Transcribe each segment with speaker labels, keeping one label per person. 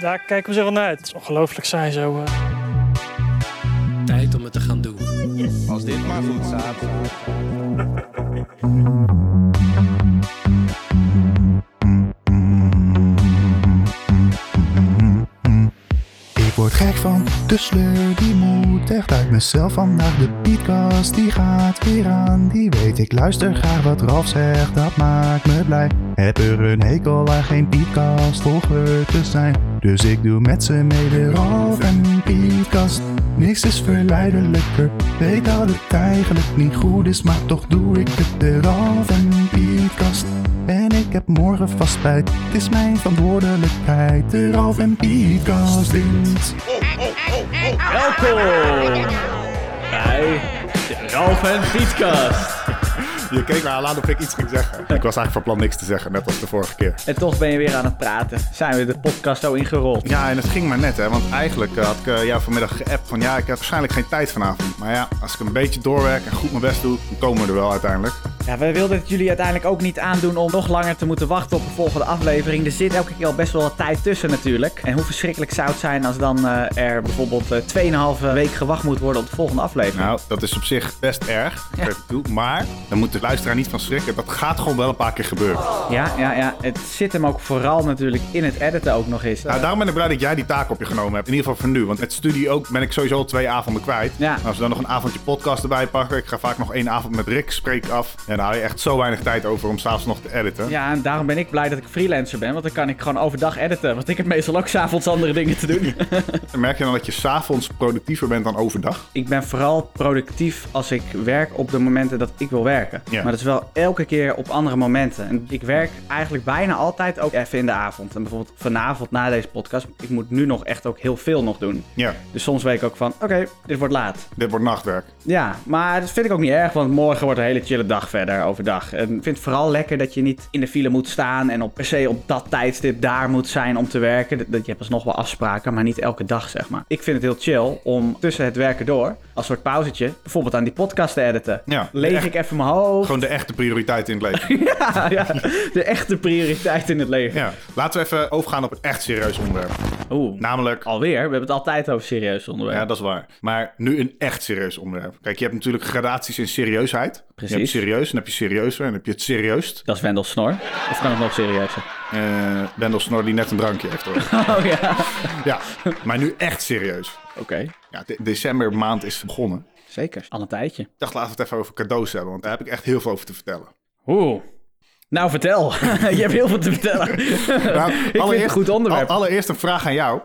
Speaker 1: Daar kijken we zo naar uit. Het is ongelooflijk saai zo. eh.
Speaker 2: Tijd om het te gaan doen.
Speaker 3: Als dit maar goed staat.
Speaker 4: Ik word gek van de sleur, die moet echt uit mezelf vandaag. De podcast die gaat weer aan, die weet ik luister graag wat Ralf zegt, dat maakt me blij. Heb er een hekel aan geen podcast volger te zijn, dus ik doe met ze mee de Ralf en Pietkast. Niks is verleidelijker, weet dat het eigenlijk niet goed is, maar toch doe ik het de Ralf en Pietkast. En ik heb morgen vast spijt, het is mijn verantwoordelijkheid, de Ralf en Pietkast dit.
Speaker 5: Welkom bij de Ralf en Pietkast.
Speaker 3: Je keek me al aan of ik iets ging zeggen. Ik was eigenlijk van plan niks te zeggen, net als de vorige keer.
Speaker 5: En toch ben je weer aan het praten. Zijn we de podcast zo ingerold?
Speaker 3: Ja, en het ging maar net, hè. Want eigenlijk eh, had ik eh, jou vanmiddag geappt van... ja, ik heb waarschijnlijk geen tijd vanavond. Maar ja, als ik een beetje doorwerk en goed mijn best doe... dan komen we er wel uiteindelijk.
Speaker 5: Ja, wij wilden het jullie uiteindelijk ook niet aandoen om nog langer te moeten wachten op de volgende aflevering. Er zit elke keer al best wel wat tijd tussen natuurlijk. En hoe verschrikkelijk zou het zijn als dan eh, er bijvoorbeeld eh 2,5 week gewacht moet worden op de volgende aflevering.
Speaker 3: Nou, dat is op zich best erg, geef ik toe. Maar, dan moet de luisteraar niet van schrikken. Dat gaat gewoon wel een paar keer gebeuren.
Speaker 5: Ja, ja, ja. Het zit hem ook vooral natuurlijk in het editen ook nog eens.
Speaker 3: Nou, daarom ben ik blij dat jij die taak op je genomen hebt. In ieder geval voor nu. Want met studie ook ben ik sowieso al twee avonden kwijt.
Speaker 5: Ja.
Speaker 3: Als we dan nog een avondje podcast erbij pakken. Ik ga vaak nog één avond met Rick spreek af. En dan hou je echt zo weinig tijd over om s'avonds nog te editen.
Speaker 5: Ja, en daarom ben ik blij dat ik freelancer ben, want dan kan ik gewoon overdag editen. Want ik heb meestal ook s'avonds andere dingen te doen.
Speaker 3: En Merk je dan dat je s'avonds productiever bent dan overdag?
Speaker 5: ik ben vooral productief als ik werk op de momenten dat ik wil werken.
Speaker 3: Ja.
Speaker 5: Maar dat is wel elke keer op andere momenten. En ik werk eigenlijk bijna altijd ook even in de avond. En bijvoorbeeld vanavond na deze podcast, ik moet nu nog echt ook heel veel nog doen.
Speaker 3: Ja,
Speaker 5: Dus soms weet ik ook van, oké, dit wordt laat.
Speaker 3: dit wordt nachtwerk.
Speaker 5: Ja, maar dat vind ik ook niet erg, want morgen wordt een hele chille dag verder overdag. En ik vind het vooral lekker dat je niet in de file moet staan en op, per se op dat tijdstip daar moet zijn om te werken. Dat, dat je hebt alsnog wel afspraken, maar niet elke dag, zeg maar. Ik vind het heel chill om tussen het werken door, als soort pauzetje, bijvoorbeeld aan die podcast te editen.
Speaker 3: Ja,
Speaker 5: Leeg
Speaker 3: echt.
Speaker 5: ik even mijn hoofd.
Speaker 3: Gewoon de echte prioriteit in het leven.
Speaker 5: Ja, ja, de echte prioriteit in het leven.
Speaker 3: ja. Laten we even overgaan op een echt serieus onderwerp.
Speaker 5: Oeh, nou,
Speaker 3: Namelijk...
Speaker 5: alweer? We hebben het altijd over serieus onderwerp.
Speaker 3: Ja, dat is waar. Maar nu een echt serieus onderwerp. Kijk, je hebt natuurlijk gradaties in serieusheid.
Speaker 5: Precies.
Speaker 3: Je hebt serieus, dan heb je serieuzer, en dan heb je het serieust.
Speaker 5: Dat is Wendel Snor. Of kan het nog serieuzer?
Speaker 3: eh Wendel Snor die net een drankje heeft hoor.
Speaker 5: Oh ja.
Speaker 3: ja, maar nu echt serieus.
Speaker 5: Oké,
Speaker 3: Ja, de- decembermaand is begonnen.
Speaker 5: zeker. Al een tijdje.
Speaker 3: Ik dacht, laten we het even over cadeaus hebben, want daar heb ik echt heel veel over te vertellen.
Speaker 5: Oeh. Nou, vertel. je hebt heel veel te vertellen.
Speaker 3: Nou,
Speaker 5: het een goed onderwerp.
Speaker 3: al- allereerst een vraag aan jou.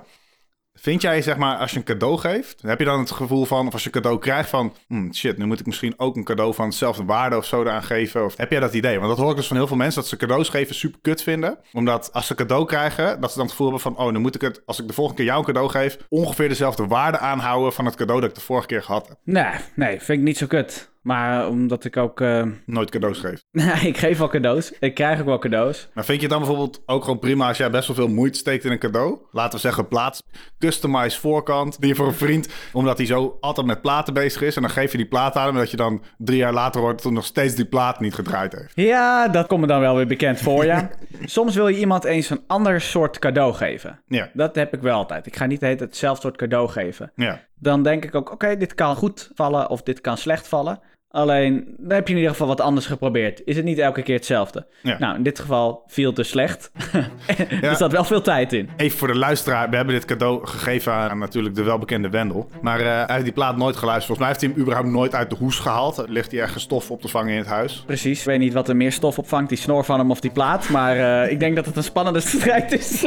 Speaker 3: Vind jij, zeg maar, als je een cadeau geeft, heb je dan het gevoel van, of als je een cadeau krijgt van, hmm, shit, nu moet ik misschien ook een cadeau van hetzelfde waarde of zo eraan geven? Of heb jij dat idee? Want dat hoor ik dus van heel veel mensen, dat ze cadeaus geven super kut vinden. Omdat als ze een cadeau krijgen, dat ze dan het gevoel hebben van, oh, nu moet ik het, als ik de volgende keer jou een cadeau geef, ongeveer dezelfde waarde aanhouden van het cadeau dat ik de vorige keer gehad heb.
Speaker 5: nee, nee, vind ik niet zo kut. Maar eh, omdat ik ook... eh,
Speaker 3: Nooit cadeaus geef.
Speaker 5: Nee, ik geef wel cadeaus. Ik krijg ook wel cadeaus.
Speaker 3: Maar Nou, vind je het dan bijvoorbeeld ook gewoon prima als jij best wel veel moeite steekt in een cadeau? Laten we zeggen, plaats customized voorkant die je voor een vriend, omdat hij zo altijd met platen bezig is. En dan geef je die plaat aan hem, dat je dan drie jaar later hoort dat hij nog steeds die plaat niet gedraaid heeft.
Speaker 5: Ja, dat komt me dan wel weer bekend voor, ja. Soms wil je iemand eens een ander soort cadeau geven.
Speaker 3: Ja,
Speaker 5: Dat heb ik wel altijd. Ik ga niet de hele tijd hetzelfde soort cadeau geven.
Speaker 3: ja.
Speaker 5: Dan denk ik ook, oké, dit kan goed vallen of dit kan slecht vallen. Alleen, dan heb je in ieder geval wat anders geprobeerd. Is het niet elke keer hetzelfde?
Speaker 3: Ja.
Speaker 5: Nou, in dit geval viel het dus slecht.
Speaker 3: Ja.
Speaker 5: Er zat wel veel tijd in.
Speaker 3: Even voor de luisteraar, we hebben dit cadeau gegeven aan natuurlijk de welbekende Wendel. Maar eh, hij heeft die plaat nooit geluisterd. Volgens mij heeft hij hem überhaupt nooit uit de hoes gehaald. Er Ligt hij ergens stof op te vangen in het huis.
Speaker 5: Precies. Ik weet niet wat er meer stof opvangt, die snor van hem of die plaat. Maar eh, ik denk dat het een spannende strijd is.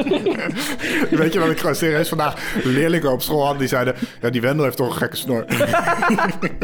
Speaker 3: Weet je wat ik gewoon serieus vandaag leerlingen op school had? Die zeiden, ja die Wendel heeft toch een gekke snor.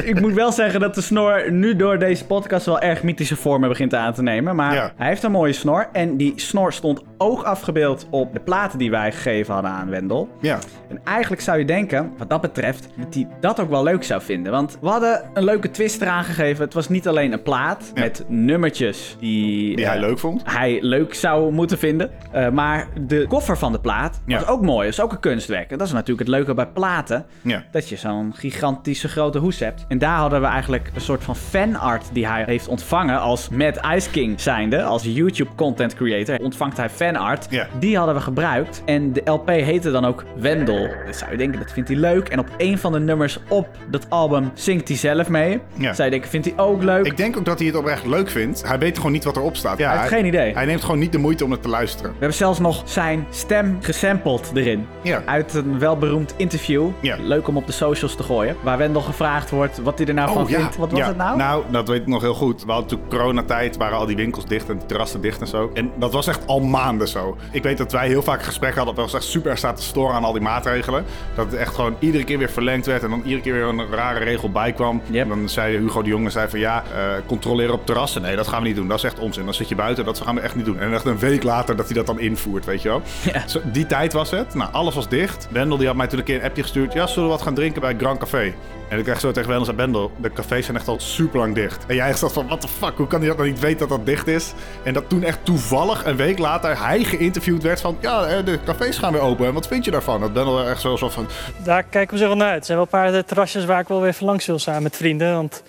Speaker 5: ik moet wel zeggen dat de snor nu door deze podcast wel erg mythische vormen begint aan te nemen. Maar
Speaker 3: Ja.
Speaker 5: hij heeft een mooie snor. En die snor stond ook afgebeeld op de platen die wij gegeven hadden aan Wendel.
Speaker 3: Ja,
Speaker 5: En eigenlijk zou je denken, wat dat betreft, dat hij dat ook wel leuk zou vinden. Want we hadden een leuke twist eraan gegeven. Het was niet alleen een plaat
Speaker 3: Ja.
Speaker 5: met nummertjes die,
Speaker 3: die hij
Speaker 5: eh,
Speaker 3: leuk vond.
Speaker 5: hij leuk zou moeten vinden. Eh, maar de koffer van de plaat
Speaker 3: Ja.
Speaker 5: was ook mooi. Dat is ook een kunstwerk. En dat is natuurlijk het leuke bij platen.
Speaker 3: Ja.
Speaker 5: Dat je zo'n gigantische grote hoes hebt. En daar hadden we eigenlijk een soort van fanart die hij heeft ontvangen als Mad Ice King zijnde. Als YouTube content creator ontvangt hij fanart.
Speaker 3: Ja.
Speaker 5: Die hadden we gebruikt. En de LP heette dan ook Wendel. Dus zou je denken, dat vindt hij leuk. En op een van de nummers op dat album zingt hij zelf mee.
Speaker 3: Ja.
Speaker 5: Zou je denken, vindt hij ook leuk?
Speaker 3: Ik denk ook dat hij het oprecht leuk vindt. Hij weet gewoon niet wat erop staat. Ja,
Speaker 5: Hij heeft geen idee.
Speaker 3: Hij neemt gewoon niet de moeite om het te luisteren.
Speaker 5: We hebben zelfs nog zijn stem gesampled erin.
Speaker 3: Ja.
Speaker 5: Uit een welberoemd interview.
Speaker 3: Ja.
Speaker 5: Leuk om op de socials te gooien. Waar Wendel gevraagd wordt wat hij er nou van vindt. Wat was
Speaker 3: Oh, Ja.
Speaker 5: het nou?
Speaker 3: Nou, dat weet ik nog heel goed. We hadden toen coronatijd, waren al die winkels dicht en de terrassen dicht en zo. En dat was echt al maanden zo. Ik weet dat wij heel vaak gesprekken hadden. Dat we ons echt super erg zaten te storen aan al die maatregelen. Dat het echt gewoon iedere keer weer verlengd werd en dan iedere keer weer een rare regel bij kwam.
Speaker 5: Yep.
Speaker 3: En dan zei Hugo de Jonge zei van ja, eh, controleren op terrassen. Nee, dat gaan we niet doen. Dat is echt onzin. Dan zit je buiten. Dat gaan we echt niet doen. En echt een week later dat hij dat dan invoert, weet je wel.
Speaker 5: Ja.
Speaker 3: Zo, die tijd was het. Nou, alles was dicht. Wendel die had mij toen een keer een appje gestuurd. Ja, zullen we wat gaan drinken bij Grand Café? En ik kreeg zo tegen Wendel, zei Wendel, de cafés zijn echt al super lang dicht. En jij zat van, what the fuck, hoe kan hij dat nou niet weten dat dat dicht is? En dat toen echt toevallig een week later hij geïnterviewd werd van, ja, eh, de cafés gaan weer open. En wat vind je daarvan? Dat Wendel echt zo zo van,
Speaker 1: Daar kijken we zo wel naar uit. Er zijn wel een paar eh, terrasjes waar ik wel weer even langs wil samen met vrienden. Want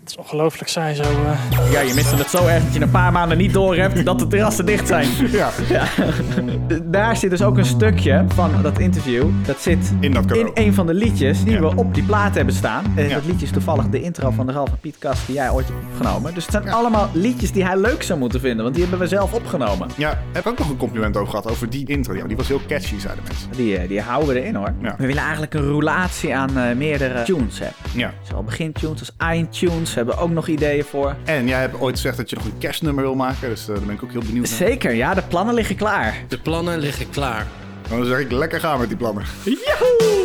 Speaker 1: het is ongelooflijk saai zo. eh.
Speaker 5: Ja, je miste het zo erg dat je een paar maanden niet door hebt dat de terrassen dicht zijn.
Speaker 3: ja,
Speaker 5: D- Daar zit dus ook een stukje van dat interview. Dat zit
Speaker 3: in dat
Speaker 5: in
Speaker 3: cadeau.
Speaker 5: een van de liedjes die
Speaker 3: Ja.
Speaker 5: we op die plaat hebben staan. Eh,
Speaker 3: Ja.
Speaker 5: Dat liedje is toevallig de intro van de Ralph en Piet Kast die jij ooit hebt opgenomen. Dus het zijn allemaal liedjes die hij leuk zou moeten vinden, want die hebben we zelf opgenomen.
Speaker 3: Ja, heb ik ook nog een compliment over gehad, over die intro. Ja, die was heel catchy, zeiden mensen.
Speaker 5: Die, eh, die houden we erin hoor.
Speaker 3: Ja.
Speaker 5: We willen eigenlijk een roulatie aan eh, meerdere tunes Dus hebben.
Speaker 3: Ja.
Speaker 5: Zowel begintunes als eindtunes hebben we ook nog ideeën voor.
Speaker 3: En jij hebt ooit gezegd dat je nog een kerstnummer wil maken, dus eh, daar ben ik ook heel benieuwd naar.
Speaker 5: Zeker, ja, de plannen liggen klaar.
Speaker 2: De plannen liggen klaar.
Speaker 3: Dan zeg ik lekker gaan met die plannen.
Speaker 5: Yahoo!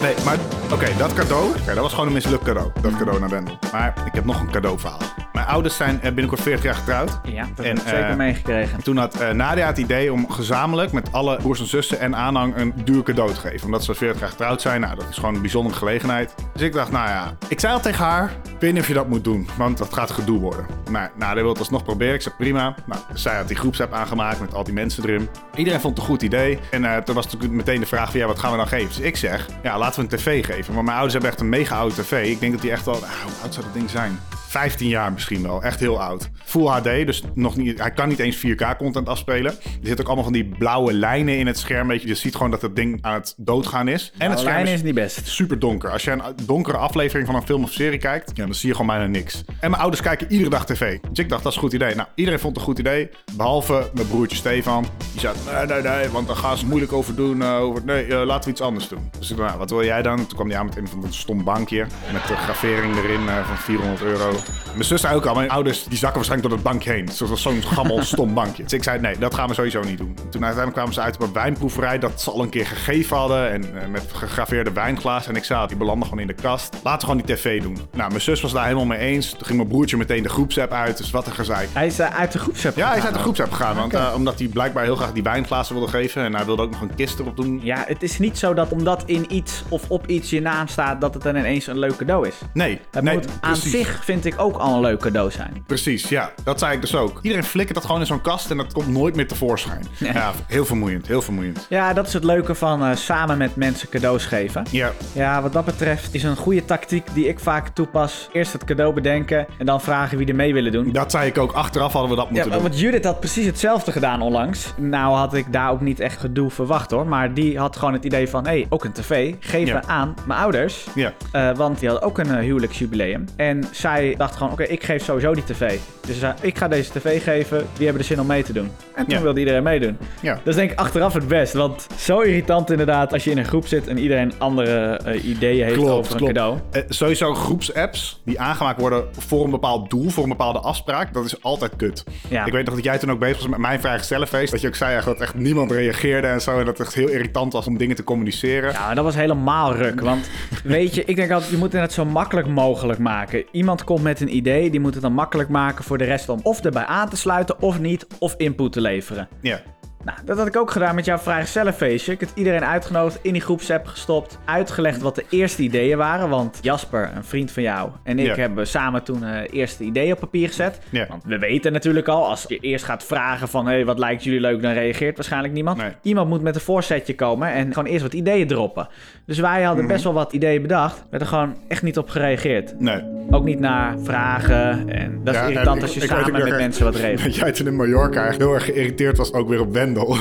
Speaker 3: Nee, maar oké, dat cadeau. Oké, dat was gewoon een mislukt cadeau. Dat cadeau naar Wendel. Maar ik heb nog een cadeauverhaal. Mijn ouders zijn eh, binnenkort 40 jaar getrouwd.
Speaker 5: Ja, dat
Speaker 3: En,
Speaker 5: heb ik zeker
Speaker 3: eh,
Speaker 5: meegekregen.
Speaker 3: Toen had eh, Nadia het idee om gezamenlijk met alle broers en zussen en aanhang een duur cadeau te geven. Omdat ze 40 jaar getrouwd zijn. Nou, dat is gewoon een bijzondere gelegenheid. Dus ik dacht, nou ja, ik zei al tegen haar, ik weet niet of je dat moet doen. Want dat gaat gedoe worden. Nou, Nadia wil het alsnog proberen. Ik zei, prima. Nou, zij had die groepsapp aangemaakt met al die mensen erin. Iedereen vond het een goed idee. En eh, toen was natuurlijk meteen de vraag van, ja, wat gaan we dan geven? Dus ik zeg, ja, laten we een tv geven. Want mijn ouders hebben echt een mega oude tv. Ik denk dat die echt al, ah, hoe oud zou dat ding zijn? 15 jaar misschien wel. Echt heel oud. Full HD, dus nog niet, hij kan niet eens 4K-content afspelen. Er zitten ook allemaal van die blauwe lijnen in het scherm. Weet je. je ziet gewoon dat het ding aan het doodgaan is. En het scherm
Speaker 5: Lijn
Speaker 3: is
Speaker 5: is niet best.
Speaker 3: super donker. Als je een donkere aflevering van een film of serie kijkt, ja, dan zie je gewoon bijna niks. En mijn ouders kijken iedere dag tv. Dus ik dacht, dat is een goed idee. Nou, iedereen vond het een goed idee. Behalve mijn broertje Stefan. Die zei, nee, nee, nee, want dan gaan ze moeilijk over doen. eh, over, nee, eh, laten we iets anders doen. Dus ik dacht, nou, wat wil jij dan? Toen kwam hij aan met een van een stom bankje. Met de gravering erin eh, van 400 euro. Mijn zus zei ook al, mijn ouders die zakken waarschijnlijk door dat bankje heen. Dus dat was zo'n gammel stom bankje. Dus ik zei, nee, dat gaan we sowieso niet doen. Toen uiteindelijk kwamen ze uit op een wijnproeverij dat ze al een keer gegeven hadden. En eh, met gegraveerde wijnglazen. En ik zei, die belanden gewoon in de kast. Laten we gewoon die tv doen. Nou, mijn zus was daar helemaal mee eens. Toen ging mijn broertje meteen de groepsapp uit. Dus wat een gezeik.
Speaker 5: Hij is eh, uit de groepsapp
Speaker 3: Ja, hij is
Speaker 5: gegaan
Speaker 3: uit de
Speaker 5: ook.
Speaker 3: groepsapp gegaan. Want, eh, omdat hij blijkbaar heel graag die wijnglazen wilde geven. En hij wilde ook nog een kist erop doen.
Speaker 5: Ja, het is niet zo dat omdat in iets of op iets je naam staat, dat het dan ineens een leuk cadeau is.
Speaker 3: Nee,
Speaker 5: Het
Speaker 3: nee,
Speaker 5: moet aan
Speaker 3: precies.
Speaker 5: zich, vind ik, ook al een leuk cadeau zijn.
Speaker 3: Precies, ja. Dat zei ik dus ook. Iedereen flikkert dat gewoon in zo'n kast en dat komt nooit meer tevoorschijn. Ja, heel vermoeiend, heel vermoeiend.
Speaker 5: Ja, dat is het leuke van eh, samen met mensen cadeaus geven.
Speaker 3: Ja,
Speaker 5: Ja, wat dat betreft is een goede tactiek die ik vaak toepas. Eerst het cadeau bedenken en dan vragen wie er mee willen doen.
Speaker 3: dat zei ik ook. Achteraf hadden we dat
Speaker 5: Ja,
Speaker 3: moeten doen.
Speaker 5: want Judith had precies hetzelfde gedaan onlangs. Nou had ik daar ook niet echt gedoe verwacht hoor. Maar die had gewoon het idee van, hé, hey, ook een tv. Geven
Speaker 3: Ja.
Speaker 5: aan mijn ouders.
Speaker 3: Ja,
Speaker 5: Eh, want die hadden ook een eh, huwelijksjubileum. En zij dacht gewoon, oké, ik geef sowieso die tv. Dus ze zei, ik ga deze tv geven. Wie hebben er zin om mee te doen? En toen
Speaker 3: Ja.
Speaker 5: wilde iedereen meedoen.
Speaker 3: ja.
Speaker 5: Dat is denk ik achteraf het best. Want zo irritant inderdaad als je in een groep zit en iedereen andere eh, ideeën heeft over een cadeau.
Speaker 3: Eh, sowieso groepsapps die aangemaakt worden voor een bepaald doel, voor een bepaalde afspraak, dat is altijd kut.
Speaker 5: Ja.
Speaker 3: Ik weet nog dat jij toen ook bezig was met mijn vrijgezellenfeest, dat je ook zei echt, dat echt niemand reageerde en zo, en dat het echt heel irritant was om dingen te communiceren.
Speaker 5: Ja, maar dat was helemaal ruk. Want weet je, ik denk altijd, je moet het zo makkelijk mogelijk maken. Iemand komt met een idee, die moet het dan makkelijk maken voor de rest om of erbij aan te sluiten of niet, of input te leveren.
Speaker 3: Ja.
Speaker 5: Nou, dat had ik ook gedaan met jouw vrijgezellenfeestje. Ik had iedereen uitgenodigd, in die groepsapp gestopt, uitgelegd wat de eerste ideeën waren. Want Jasper, een vriend van jou, en ik
Speaker 3: Ja.
Speaker 5: hebben samen toen eh, eerste ideeën op papier gezet.
Speaker 3: Ja.
Speaker 5: Want we weten natuurlijk al, als je eerst gaat vragen van, hé, hey, wat lijkt jullie leuk, dan reageert waarschijnlijk niemand.
Speaker 3: Nee.
Speaker 5: Iemand moet met een voorzetje komen en gewoon eerst wat ideeën droppen. Dus wij hadden
Speaker 3: Mhm.
Speaker 5: best wel wat ideeën bedacht, werd er gewoon echt niet op gereageerd.
Speaker 3: Nee.
Speaker 5: Ook niet naar vragen en dat is
Speaker 3: Ja,
Speaker 5: irritant
Speaker 3: en
Speaker 5: als je
Speaker 3: ik- ik weet
Speaker 5: samen
Speaker 3: ook
Speaker 5: met
Speaker 3: nog echt
Speaker 5: mensen wat regelt.
Speaker 3: Dat jij toen in Mallorca echt heel erg geïrriteerd was, ook weer op Wendel.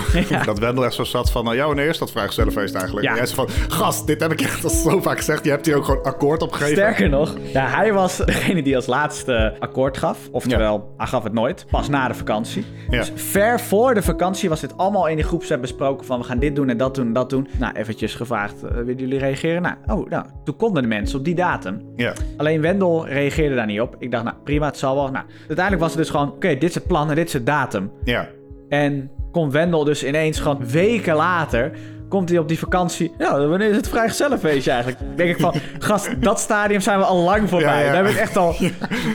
Speaker 3: Dat Wendel echt zo zat van, nou ja, wanneer is dat vrijgezellenfeest eigenlijk?
Speaker 5: Ja.
Speaker 3: En hij is van, gast, dit heb ik echt al zo vaak gezegd. Je hebt hier ook gewoon akkoord op gegeven.
Speaker 5: Sterker nog, ja, hij was degene die als laatste akkoord gaf. Oftewel, hij gaf het nooit. Pas na de vakantie.
Speaker 3: Ja.
Speaker 5: Dus ver voor de vakantie was dit allemaal in die groepsapp besproken van we gaan dit doen en dat doen en dat doen. Nou, eventjes gevraagd, eh, willen jullie reageren? Nou, oh, nou, toen konden de mensen op die datum.
Speaker 3: Ja.
Speaker 5: Alleen Wendel reageerde daar niet op. Ik dacht, nou prima, het zal wel. Nou, uiteindelijk was het dus gewoon, oké, dit is het plan en dit is het datum.
Speaker 3: Ja.
Speaker 5: En komt Wendel dus ineens gewoon weken later. Komt hij op die vakantie? Ja, wanneer is het vrijgezellenfeestje eigenlijk? Dan Denk ik van, gast, dat stadium zijn we al lang voorbij.
Speaker 3: Ja, ja.
Speaker 5: Daar ben ik echt al.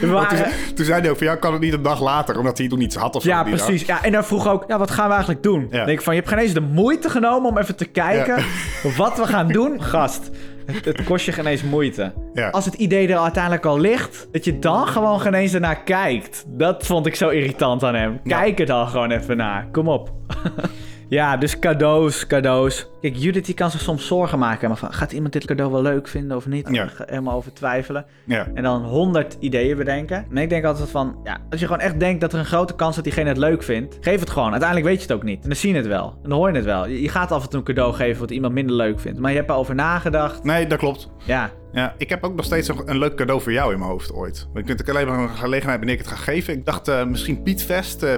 Speaker 5: We
Speaker 3: Want
Speaker 5: waren...
Speaker 3: Toen, toen zei hij ook van, ja, kan het niet een dag later, omdat hij toen iets had of zo.
Speaker 5: Ja,
Speaker 3: die dag.
Speaker 5: precies. Ja, en dan vroeg ook, ja, wat gaan we eigenlijk doen? Dan Denk ik van, je hebt geen eens de moeite genomen om even te kijken wat we gaan doen. Gast, het, het kost je geen eens moeite.
Speaker 3: Ja.
Speaker 5: Als het idee er uiteindelijk al ligt, dat je dan gewoon geen eens ernaar kijkt. Dat vond ik zo irritant aan hem. Kijk er dan gewoon even naar. Kom op. Ja, dus cadeaus, cadeaus. Kijk, Judith die kan zich soms zorgen maken. Helemaal van, gaat iemand dit cadeau wel leuk vinden of niet?
Speaker 3: Ja.
Speaker 5: Ga- Helemaal over twijfelen.
Speaker 3: Ja.
Speaker 5: En dan 100 ideeën bedenken. En ik denk altijd van, ja, als je gewoon echt denkt dat er een grote kans is dat diegene het leuk vindt, geef het gewoon. Uiteindelijk weet je het ook niet. En dan zie je het wel. En dan hoor je het wel. Je je gaat af en toe een cadeau geven wat iemand minder leuk vindt. Maar je hebt erover nagedacht.
Speaker 3: Nee, dat klopt.
Speaker 5: Ja,
Speaker 3: Ja, ik heb ook nog steeds een, een leuk cadeau voor jou in mijn hoofd ooit. Want Ik vind het alleen maar een gelegenheid wanneer ik het ga geven. Ik dacht eh, misschien Pietvest, eh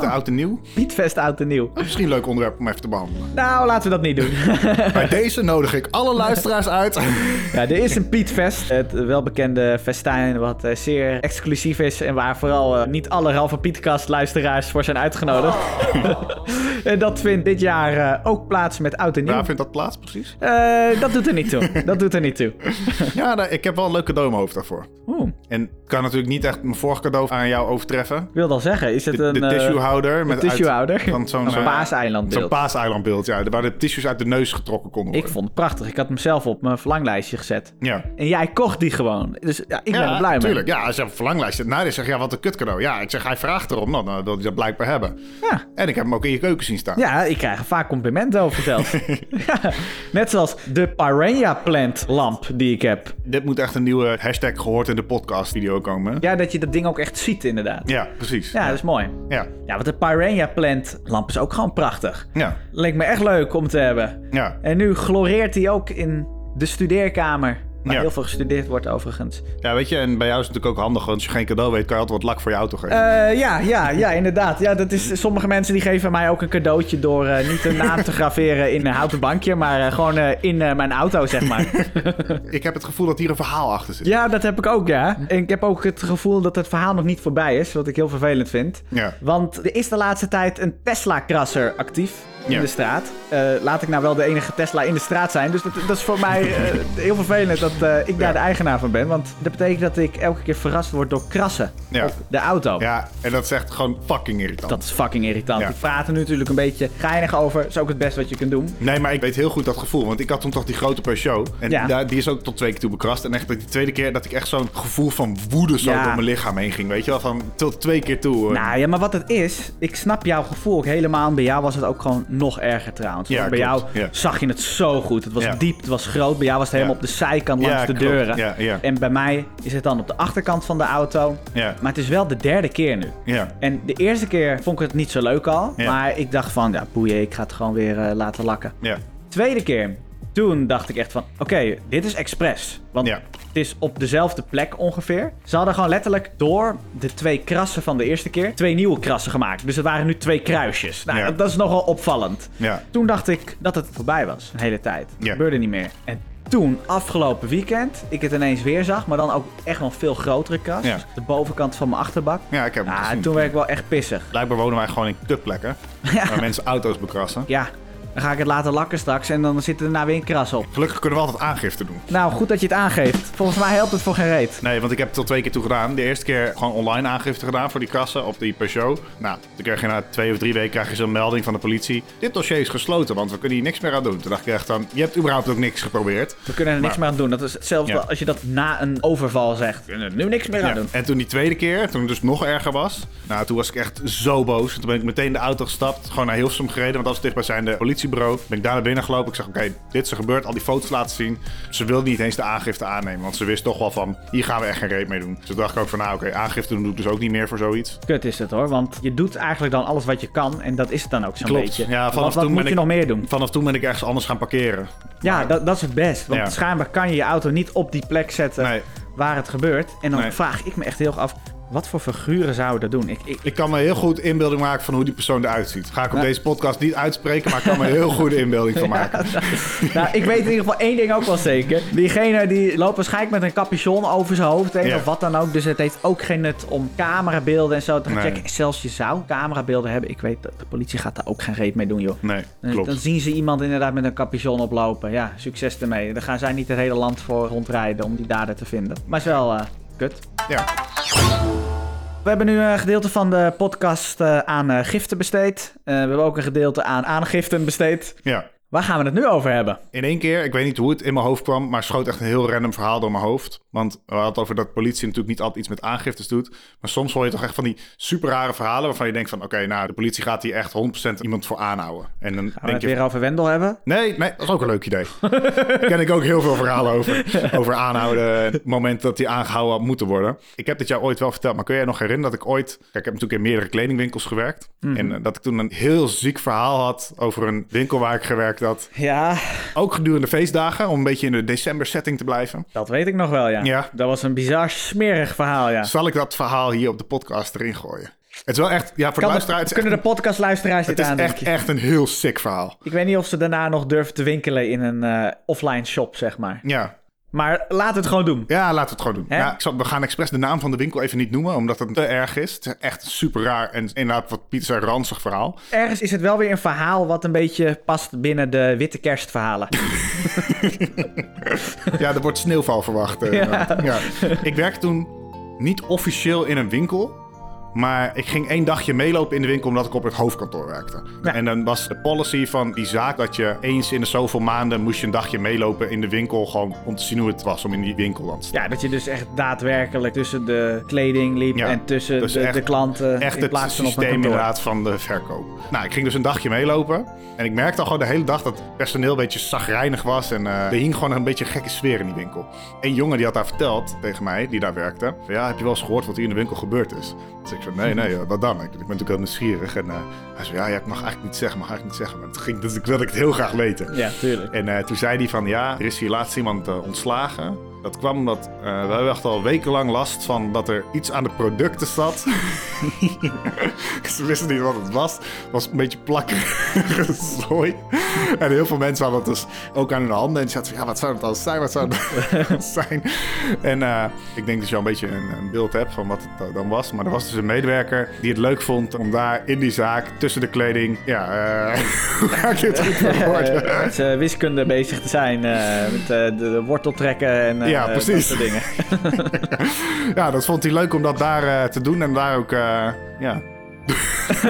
Speaker 3: de oud en nieuw.
Speaker 5: Pietvest oud en nieuw.
Speaker 3: Misschien een leuk onderwerp om even te behandelen.
Speaker 5: Nou, laten we dat niet doen.
Speaker 3: Bij deze nodig ik alle luisteraars uit.
Speaker 5: Ja, er is een Pietvest. Het welbekende festijn wat eh, zeer exclusief is en waar vooral eh, niet alle Ralph en Pietkast luisteraars voor zijn uitgenodigd. en dat vindt dit jaar eh, ook plaats met oud en nieuw.
Speaker 3: Waar vindt dat plaats precies?
Speaker 5: Eh, dat doet er niet toe. Dat doet er niet toe.
Speaker 3: Ja, nou, ik heb wel een leuk cadeau in mijn hoofd daarvoor.
Speaker 5: Oeh,
Speaker 3: En ik kan natuurlijk niet echt mijn vorige cadeau aan jou overtreffen.
Speaker 5: ik wil dan zeggen, is het
Speaker 3: De,
Speaker 5: een...
Speaker 3: de
Speaker 5: eh,
Speaker 3: tissuehouder. Met uit-
Speaker 5: tissuehouder?
Speaker 3: van zo'n
Speaker 5: Een
Speaker 3: eh,
Speaker 5: paaseilandbeeld.
Speaker 3: Zo'n paaseilandbeeld, ja. Waar de tissues uit de neus getrokken konden
Speaker 5: Ik
Speaker 3: worden.
Speaker 5: vond het prachtig. Ik had hem zelf op mijn verlanglijstje gezet.
Speaker 3: Ja.
Speaker 5: En jij kocht die gewoon. Dus ja, ik ben er blij mee.
Speaker 3: tuurlijk. Ja, als je op een verlanglijst zit. Nou, dan zeg je, ja, wat een kutcadeau. Ja, ik zeg, hij vraagt erom. Nou, dan wil hij dat blijkbaar hebben.
Speaker 5: Ja.
Speaker 3: En ik heb hem ook in je keuken zien staan.
Speaker 5: Ja, ik krijg er vaak complimenten over zelfs. ja, net zoals de Parenia Plant lamp die ik heb.
Speaker 3: Dit moet echt een nieuwe hashtag gehoord in de podcast video komen.
Speaker 5: Ja, dat je dat ding ook echt ziet inderdaad.
Speaker 3: Ja, precies.
Speaker 5: Ja, dat is mooi.
Speaker 3: Ja.
Speaker 5: Ja, want de Parenia Plant lamp is ook gewoon prachtig.
Speaker 3: Ja.
Speaker 5: Leek me echt leuk om te hebben.
Speaker 3: Ja.
Speaker 5: En nu gloreert hij ook in de studeerkamer. Waar
Speaker 3: Ja.
Speaker 5: heel veel gestudeerd wordt overigens.
Speaker 3: Ja, weet je, en bij jou is het natuurlijk ook handig, want als je geen cadeau weet, kan je altijd wat lak voor je auto geven.
Speaker 5: Eh, ja, ja, ja, inderdaad. Ja, dat is, sommige mensen die geven mij ook een cadeautje door eh, niet een naam te graveren in een houten bankje, maar eh, gewoon eh, in eh, mijn auto, zeg maar.
Speaker 3: Ik heb het gevoel dat hier een verhaal achter zit.
Speaker 5: ja, dat heb ik ook, ja. En ik heb ook het gevoel dat het verhaal nog niet voorbij is, wat ik heel vervelend vind.
Speaker 3: Ja.
Speaker 5: Want er is de laatste tijd een Tesla-krasser actief in
Speaker 3: Ja.
Speaker 5: de straat. Eh, laat ik nou wel de enige Tesla in de straat zijn. Dus dat, dat is voor mij eh, heel vervelend dat eh, ik daar de eigenaar van ben. Want dat betekent dat ik elke keer verrast word door krassen
Speaker 3: Ja.
Speaker 5: op de auto.
Speaker 3: Ja, en dat is echt gewoon fucking irritant.
Speaker 5: Dat is fucking irritant.
Speaker 3: Ja.
Speaker 5: Ik praat er nu natuurlijk een beetje geinig over. Is ook het beste wat je kunt doen.
Speaker 3: Nee, maar ik weet heel goed dat gevoel. Want ik had toen toch die grote Peugeot. En
Speaker 5: Ja.
Speaker 3: daar, die is ook tot twee keer toe bekrast. En echt dat die tweede keer dat ik echt zo'n gevoel van woede zo
Speaker 5: Ja.
Speaker 3: door mijn lichaam heen ging. Weet je wel, van tot twee keer toe. eh.
Speaker 5: Nou ja, maar wat het is, ik snap jouw gevoel ook helemaal. Bij jou was het ook gewoon nog erger trouwens.
Speaker 3: Ja,
Speaker 5: Want bij
Speaker 3: klopt.
Speaker 5: jou
Speaker 3: Ja.
Speaker 5: zag je het zo goed. Het was
Speaker 3: Ja.
Speaker 5: diep, het was groot. Bij jou was het helemaal
Speaker 3: Ja.
Speaker 5: op de zijkant langs
Speaker 3: Ja,
Speaker 5: de
Speaker 3: klopt.
Speaker 5: deuren.
Speaker 3: Ja, ja.
Speaker 5: En bij mij is het dan op de achterkant van de auto.
Speaker 3: Ja.
Speaker 5: Maar het is wel de derde keer nu.
Speaker 3: Ja.
Speaker 5: En de eerste keer vond ik het niet zo leuk al.
Speaker 3: Ja.
Speaker 5: Maar ik dacht van, ja, boeien, ik ga het gewoon weer eh, laten lakken.
Speaker 3: Ja.
Speaker 5: Tweede keer, toen dacht ik echt van, oké, dit is expres. Want
Speaker 3: Ja.
Speaker 5: het is op dezelfde plek ongeveer. Ze hadden gewoon letterlijk door de twee krassen van de eerste keer twee nieuwe krassen gemaakt. Dus het waren nu twee kruisjes. Nou,
Speaker 3: Ja.
Speaker 5: dat, dat is nogal opvallend.
Speaker 3: Ja.
Speaker 5: Toen dacht ik dat het voorbij was, een hele tijd. Het
Speaker 3: Ja.
Speaker 5: gebeurde niet meer. En toen, afgelopen weekend, ik het ineens weer zag, maar dan ook echt wel een veel grotere kras.
Speaker 3: Ja.
Speaker 5: De bovenkant van mijn achterbak.
Speaker 3: Ja, ik heb hem
Speaker 5: Ah,
Speaker 3: gezien.
Speaker 5: toen werd ik wel echt pissig.
Speaker 3: Blijkbaar wonen wij gewoon in kutplekken.
Speaker 5: Ja.
Speaker 3: Waar mensen auto's bekrassen.
Speaker 5: Ja, Dan ga ik het laten lakken straks en dan zit er daarna weer een kras op.
Speaker 3: Gelukkig kunnen we altijd aangifte doen.
Speaker 5: Nou, goed dat je het aangeeft. Volgens mij helpt het voor geen reet.
Speaker 3: Nee, want ik heb het al twee keer toe gedaan. De eerste keer gewoon online aangifte gedaan voor die kassen op die Peugeot. Nou, toen kreeg je na twee of drie weken krijg je zo'n melding van de politie. Dit dossier is gesloten, want we kunnen hier niks meer aan doen. Toen dacht ik echt dan, je hebt überhaupt ook niks geprobeerd.
Speaker 5: We kunnen er niks
Speaker 3: Maar-
Speaker 5: meer aan doen. Dat is hetzelfde
Speaker 3: Ja.
Speaker 5: als je dat na een overval zegt. We kunnen er nu niks meer aan
Speaker 3: Ja,
Speaker 5: doen.
Speaker 3: En toen die tweede keer, toen het dus nog erger was. Nou, toen was ik echt zo boos. Toen ben ik meteen de auto gestapt, gewoon naar Hilversum gereden. Want dat is dichtbijzijnde politiebureau. Ben ik daar naar binnen gelopen. Ik zeg, oké, dit is er gebeurd. Al die foto's laten zien. Ze wilde niet eens de aangifte aannemen. Want ze wist toch wel van, hier gaan we echt geen reet mee doen. Dus toen dacht ik ook van, nou oké, aangifte doen doe ik dus ook niet meer voor zoiets.
Speaker 5: Kut is het hoor, want je doet eigenlijk dan alles wat je kan en dat is het dan ook zo'n
Speaker 3: Klopt.
Speaker 5: beetje.
Speaker 3: Ja,
Speaker 5: Want
Speaker 3: vanaf
Speaker 5: wat
Speaker 3: toen
Speaker 5: moet
Speaker 3: ben
Speaker 5: je nog
Speaker 3: ik-
Speaker 5: meer doen?
Speaker 3: Vanaf toen ben ik ergens anders gaan parkeren.
Speaker 5: Ja, dat, dat is het best, want
Speaker 3: Ja.
Speaker 5: schijnbaar kan je je auto niet op die plek zetten
Speaker 3: Nee.
Speaker 5: waar het gebeurt. En dan
Speaker 3: Nee.
Speaker 5: vraag ik me echt heel erg af, wat voor figuren zouden dat doen? Ik, ik,
Speaker 3: Ik kan me heel goed inbeelding maken van hoe die persoon eruit ziet. Ga ik op
Speaker 5: Ja.
Speaker 3: deze podcast niet uitspreken, maar ik kan me heel goede inbeelding van maken.
Speaker 5: nou, ik weet in ieder geval één ding ook wel zeker. Diegene die loopt waarschijnlijk met een capuchon over zijn hoofd heen
Speaker 3: Ja.
Speaker 5: of wat dan ook. Dus het heeft ook geen nut om camerabeelden en zo te gaan
Speaker 3: Nee.
Speaker 5: checken. Zelfs je zou camerabeelden hebben. Ik weet, dat de politie gaat daar ook geen reet mee doen, joh.
Speaker 3: Nee,
Speaker 5: Dan-
Speaker 3: klopt.
Speaker 5: Dan zien ze iemand inderdaad met een capuchon oplopen. Ja, succes ermee. Dan gaan zij niet het hele land voor rondrijden om die dader te vinden. Maar is wel eh, kut.
Speaker 3: Ja.
Speaker 5: We hebben nu een gedeelte van de podcast eh, aan eh, giften besteed. Eh, we hebben ook een gedeelte aan aangiften besteed.
Speaker 3: Ja.
Speaker 5: Waar gaan we het nu over hebben?
Speaker 3: In één keer, ik weet niet hoe het in mijn hoofd kwam, maar schoot echt een heel random verhaal door mijn hoofd. Want we hadden het over dat politie natuurlijk niet altijd iets met aangiftes doet. Maar soms hoor je toch echt van die super rare verhalen waarvan je denkt van... Oké, nou, de politie gaat hier echt 100% iemand voor aanhouden. En dan
Speaker 5: Gaan we
Speaker 3: denk
Speaker 5: het
Speaker 3: je...
Speaker 5: weer over Wendel hebben?
Speaker 3: Nee, nee, dat is ook een leuk idee. Daar ken ik ook heel veel verhalen over. Over aanhouden, en het moment dat hij aangehouden had moeten worden. Ik heb dit jou ooit wel verteld, maar kun jij nog herinneren dat ik ooit... Kijk, ik heb natuurlijk in meerdere kledingwinkels gewerkt.
Speaker 5: Mhm.
Speaker 3: En eh, dat ik toen een heel ziek verhaal had over een winkel waar ik gewerkt had.
Speaker 5: Ja,
Speaker 3: Ook gedurende feestdagen, om een beetje in de december setting te blijven.
Speaker 5: dat weet ik nog wel, ja.
Speaker 3: Ja.
Speaker 5: Dat was een bizar smerig verhaal, ja.
Speaker 3: Zal ik dat verhaal hier op de podcast erin gooien? Het is wel echt, ja, voor de
Speaker 5: Kan
Speaker 3: luisteraar,
Speaker 5: het-
Speaker 3: het is
Speaker 5: kunnen de
Speaker 3: echt,
Speaker 5: podcastluisteraars
Speaker 3: het
Speaker 5: dit
Speaker 3: is
Speaker 5: aan, denk
Speaker 3: echt,
Speaker 5: je?
Speaker 3: echt een heel sick verhaal.
Speaker 5: Ik weet niet of ze daarna nog durven te winkelen in een eh, offline shop, zeg maar.
Speaker 3: Ja,
Speaker 5: Maar laat het gewoon doen.
Speaker 3: ja laten we het gewoon doen.
Speaker 5: Hè?
Speaker 3: Ja, ik zal, we gaan expres de naam van de winkel even niet noemen, omdat het te erg is. Het is echt super raar en inderdaad wat Piet zei, ranzig verhaal.
Speaker 5: Ergens is het wel weer een verhaal wat een beetje past binnen de witte kerstverhalen.
Speaker 3: Ja, er wordt sneeuwval verwacht. eh, inderdaad. ja. Ik werkte toen niet officieel in een winkel. Maar ik ging één dagje meelopen in de winkel omdat ik op het hoofdkantoor werkte.
Speaker 5: Ja.
Speaker 3: En dan was de policy van die zaak dat je eens in de zoveel maanden moest je een dagje meelopen in de winkel. Gewoon om te zien hoe het was om in die winkel dan te staan.
Speaker 5: Ja, dat je dus echt daadwerkelijk tussen de kleding liep
Speaker 3: Ja,
Speaker 5: en tussen
Speaker 3: dus
Speaker 5: de,
Speaker 3: echt-
Speaker 5: de klanten
Speaker 3: Echt
Speaker 5: eh, in
Speaker 3: het
Speaker 5: plaats van op een
Speaker 3: systeem
Speaker 5: kantoor.
Speaker 3: inderdaad van de verkoop. Nou, ik ging dus een dagje meelopen. En ik merkte al gewoon de hele dag dat het personeel een beetje zagrijnig was. En eh, er hing gewoon een beetje een gekke sfeer in die winkel. Een jongen die had daar verteld tegen mij, die daar werkte. Van, ja, heb je wel eens gehoord wat hier in de winkel gebeurd is? Dus ik zei, nee, nee, eh, wat dan? Ik, ik ben natuurlijk heel nieuwsgierig. En eh, hij zei, ja, ja, ik mag eigenlijk niet zeggen, mag eigenlijk niet zeggen. Maar het ging, dus ik wilde het heel graag weten.
Speaker 5: Ja, tuurlijk.
Speaker 3: En eh, toen zei hij van ja, er is hier laatst iemand eh, ontslagen. Dat kwam omdat eh, we hebben echt al wekenlang last van dat er iets aan de producten zat. Ze wisten niet wat het was. Het was een beetje plakkerige zooi. En heel veel mensen hadden het dus ook aan hun handen. En die zaten van ja, wat zou het dan zijn? Wat zou het dan zijn? En eh, ik denk dat je al een beetje een, een beeld hebt van wat het eh, dan was. Maar er was dus een medewerker die het leuk vond om daar in die zaak, tussen de kleding... Ja, eh, hoe ga ik dit goed verwoorden?
Speaker 5: Eh, met eh, wiskunde bezig te zijn, eh, met eh, de, de wortel trekken en eh,
Speaker 3: Ja,
Speaker 5: eh, dat
Speaker 3: precies.
Speaker 5: soort dingen.
Speaker 3: Ja, dat vond hij leuk om dat daar eh, te doen en daar ook eh, ja,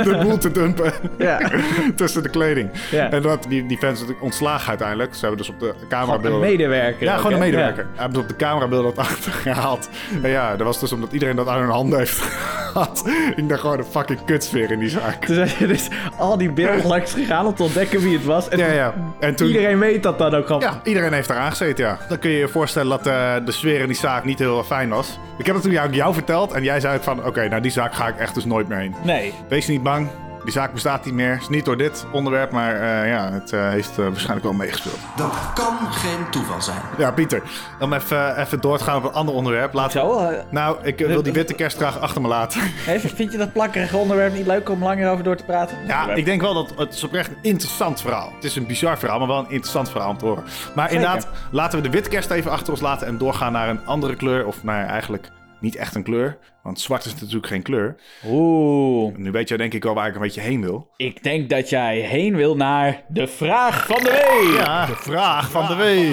Speaker 3: de boel te dumpen
Speaker 5: Ja,
Speaker 3: tussen de kleding.
Speaker 5: Ja.
Speaker 3: En dat, die, die fans natuurlijk ontslagen uiteindelijk. Ze hebben dus op de
Speaker 5: gewoon een
Speaker 3: camerabeelden...
Speaker 5: medewerker.
Speaker 3: ja,
Speaker 5: ook,
Speaker 3: gewoon
Speaker 5: hè?
Speaker 3: een medewerker. Hij Hebben ze op de camerabeelden dat achtergehaald. En ja, dat was dus omdat iedereen dat aan hun handen heeft gehad. Ik dacht gewoon een fucking kutsfeer in die zaak.
Speaker 5: Toen zijn ze dus al die beelden langs gegaan om te ontdekken wie het was. En
Speaker 3: Ja, ja. En toen...
Speaker 5: iedereen weet dat dan ook gewoon.
Speaker 3: Ja, iedereen heeft eraan gezeten, ja. Dan kun je je voorstellen dat eh, de sfeer in die zaak niet heel fijn was. Ik heb het toen jou, jou verteld en jij zei ook van... Oké, nou die zaak ga ik echt dus nooit meer heen.
Speaker 5: Nee,
Speaker 3: Wees niet bang. Die zaak bestaat niet meer. Is niet door dit onderwerp, maar eh, ja, het eh, heeft eh, waarschijnlijk wel meegespeeld.
Speaker 6: Dat kan geen toeval zijn.
Speaker 3: Ja, Pieter, om even, eh, even door te gaan op een ander onderwerp. Laat...
Speaker 5: zo. eh,
Speaker 3: Nou, ik eh, wil die witte kerst graag achter me laten.
Speaker 5: hè, vind je dat plakkerige onderwerp niet leuk om langer over door te praten?
Speaker 3: Ja, ik denk wel dat het is oprecht een interessant verhaal. Het is een bizar verhaal, maar wel een interessant verhaal om te horen. Maar inderdaad, laten we de witte kerst even achter ons laten en doorgaan naar een andere kleur. Of nou ja, eigenlijk niet echt een kleur, want zwart is natuurlijk geen kleur.
Speaker 5: Oeh.
Speaker 3: nu weet jij denk ik wel waar ik een beetje heen wil.
Speaker 5: Ik denk dat jij heen wil naar de vraag van de week.
Speaker 3: Ja, de vraag van de week.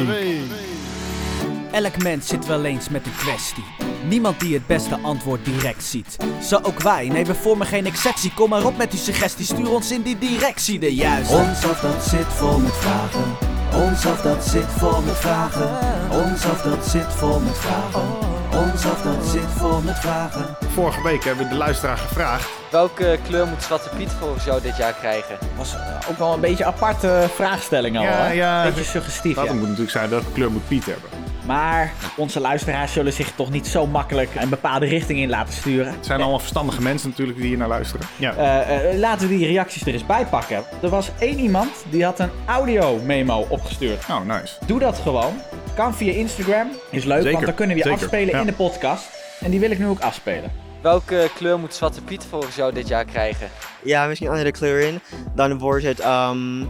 Speaker 7: Elk mens zit wel eens met een kwestie. Niemand die het beste antwoord direct ziet. Zo ook wij, nee we vormen geen exceptie. Kom maar op met uw suggestie, stuur ons in die directie de juiste. Ons af dat zit vol met vragen. Ons af dat zit vol met vragen. Ons af dat zit vol met vragen. Ons af dat zit vol met vragen.
Speaker 3: Vorige week hebben we de luisteraar gevraagd.
Speaker 8: Welke kleur moet Zwarte Piet volgens jou dit jaar krijgen?
Speaker 5: was eh, ook wel een beetje aparte vraagstelling al.
Speaker 3: Ja,
Speaker 5: hè?
Speaker 3: ja.
Speaker 5: Beetje suggestief.
Speaker 3: Dat
Speaker 5: ja.
Speaker 3: moet natuurlijk zijn welke kleur moet Piet hebben.
Speaker 5: Maar onze luisteraars zullen zich toch niet zo makkelijk een bepaalde richting in laten sturen.
Speaker 3: Het zijn allemaal verstandige mensen natuurlijk die hier naar luisteren. Ja.
Speaker 5: Eh, eh, laten we die reacties er eens bij pakken. Er was één iemand die had een audio-memo opgestuurd.
Speaker 3: Oh, nice.
Speaker 5: Doe dat gewoon. Kan via Instagram. Is leuk,
Speaker 3: Zeker,
Speaker 5: want dan kunnen we je
Speaker 3: zeker,
Speaker 5: afspelen
Speaker 3: ja.
Speaker 5: in de podcast. En die wil ik nu ook afspelen.
Speaker 8: Welke kleur moet Zwarte Piet volgens jou dit jaar krijgen?
Speaker 9: Ja, misschien andere kleuren. Dan wordt het ehm,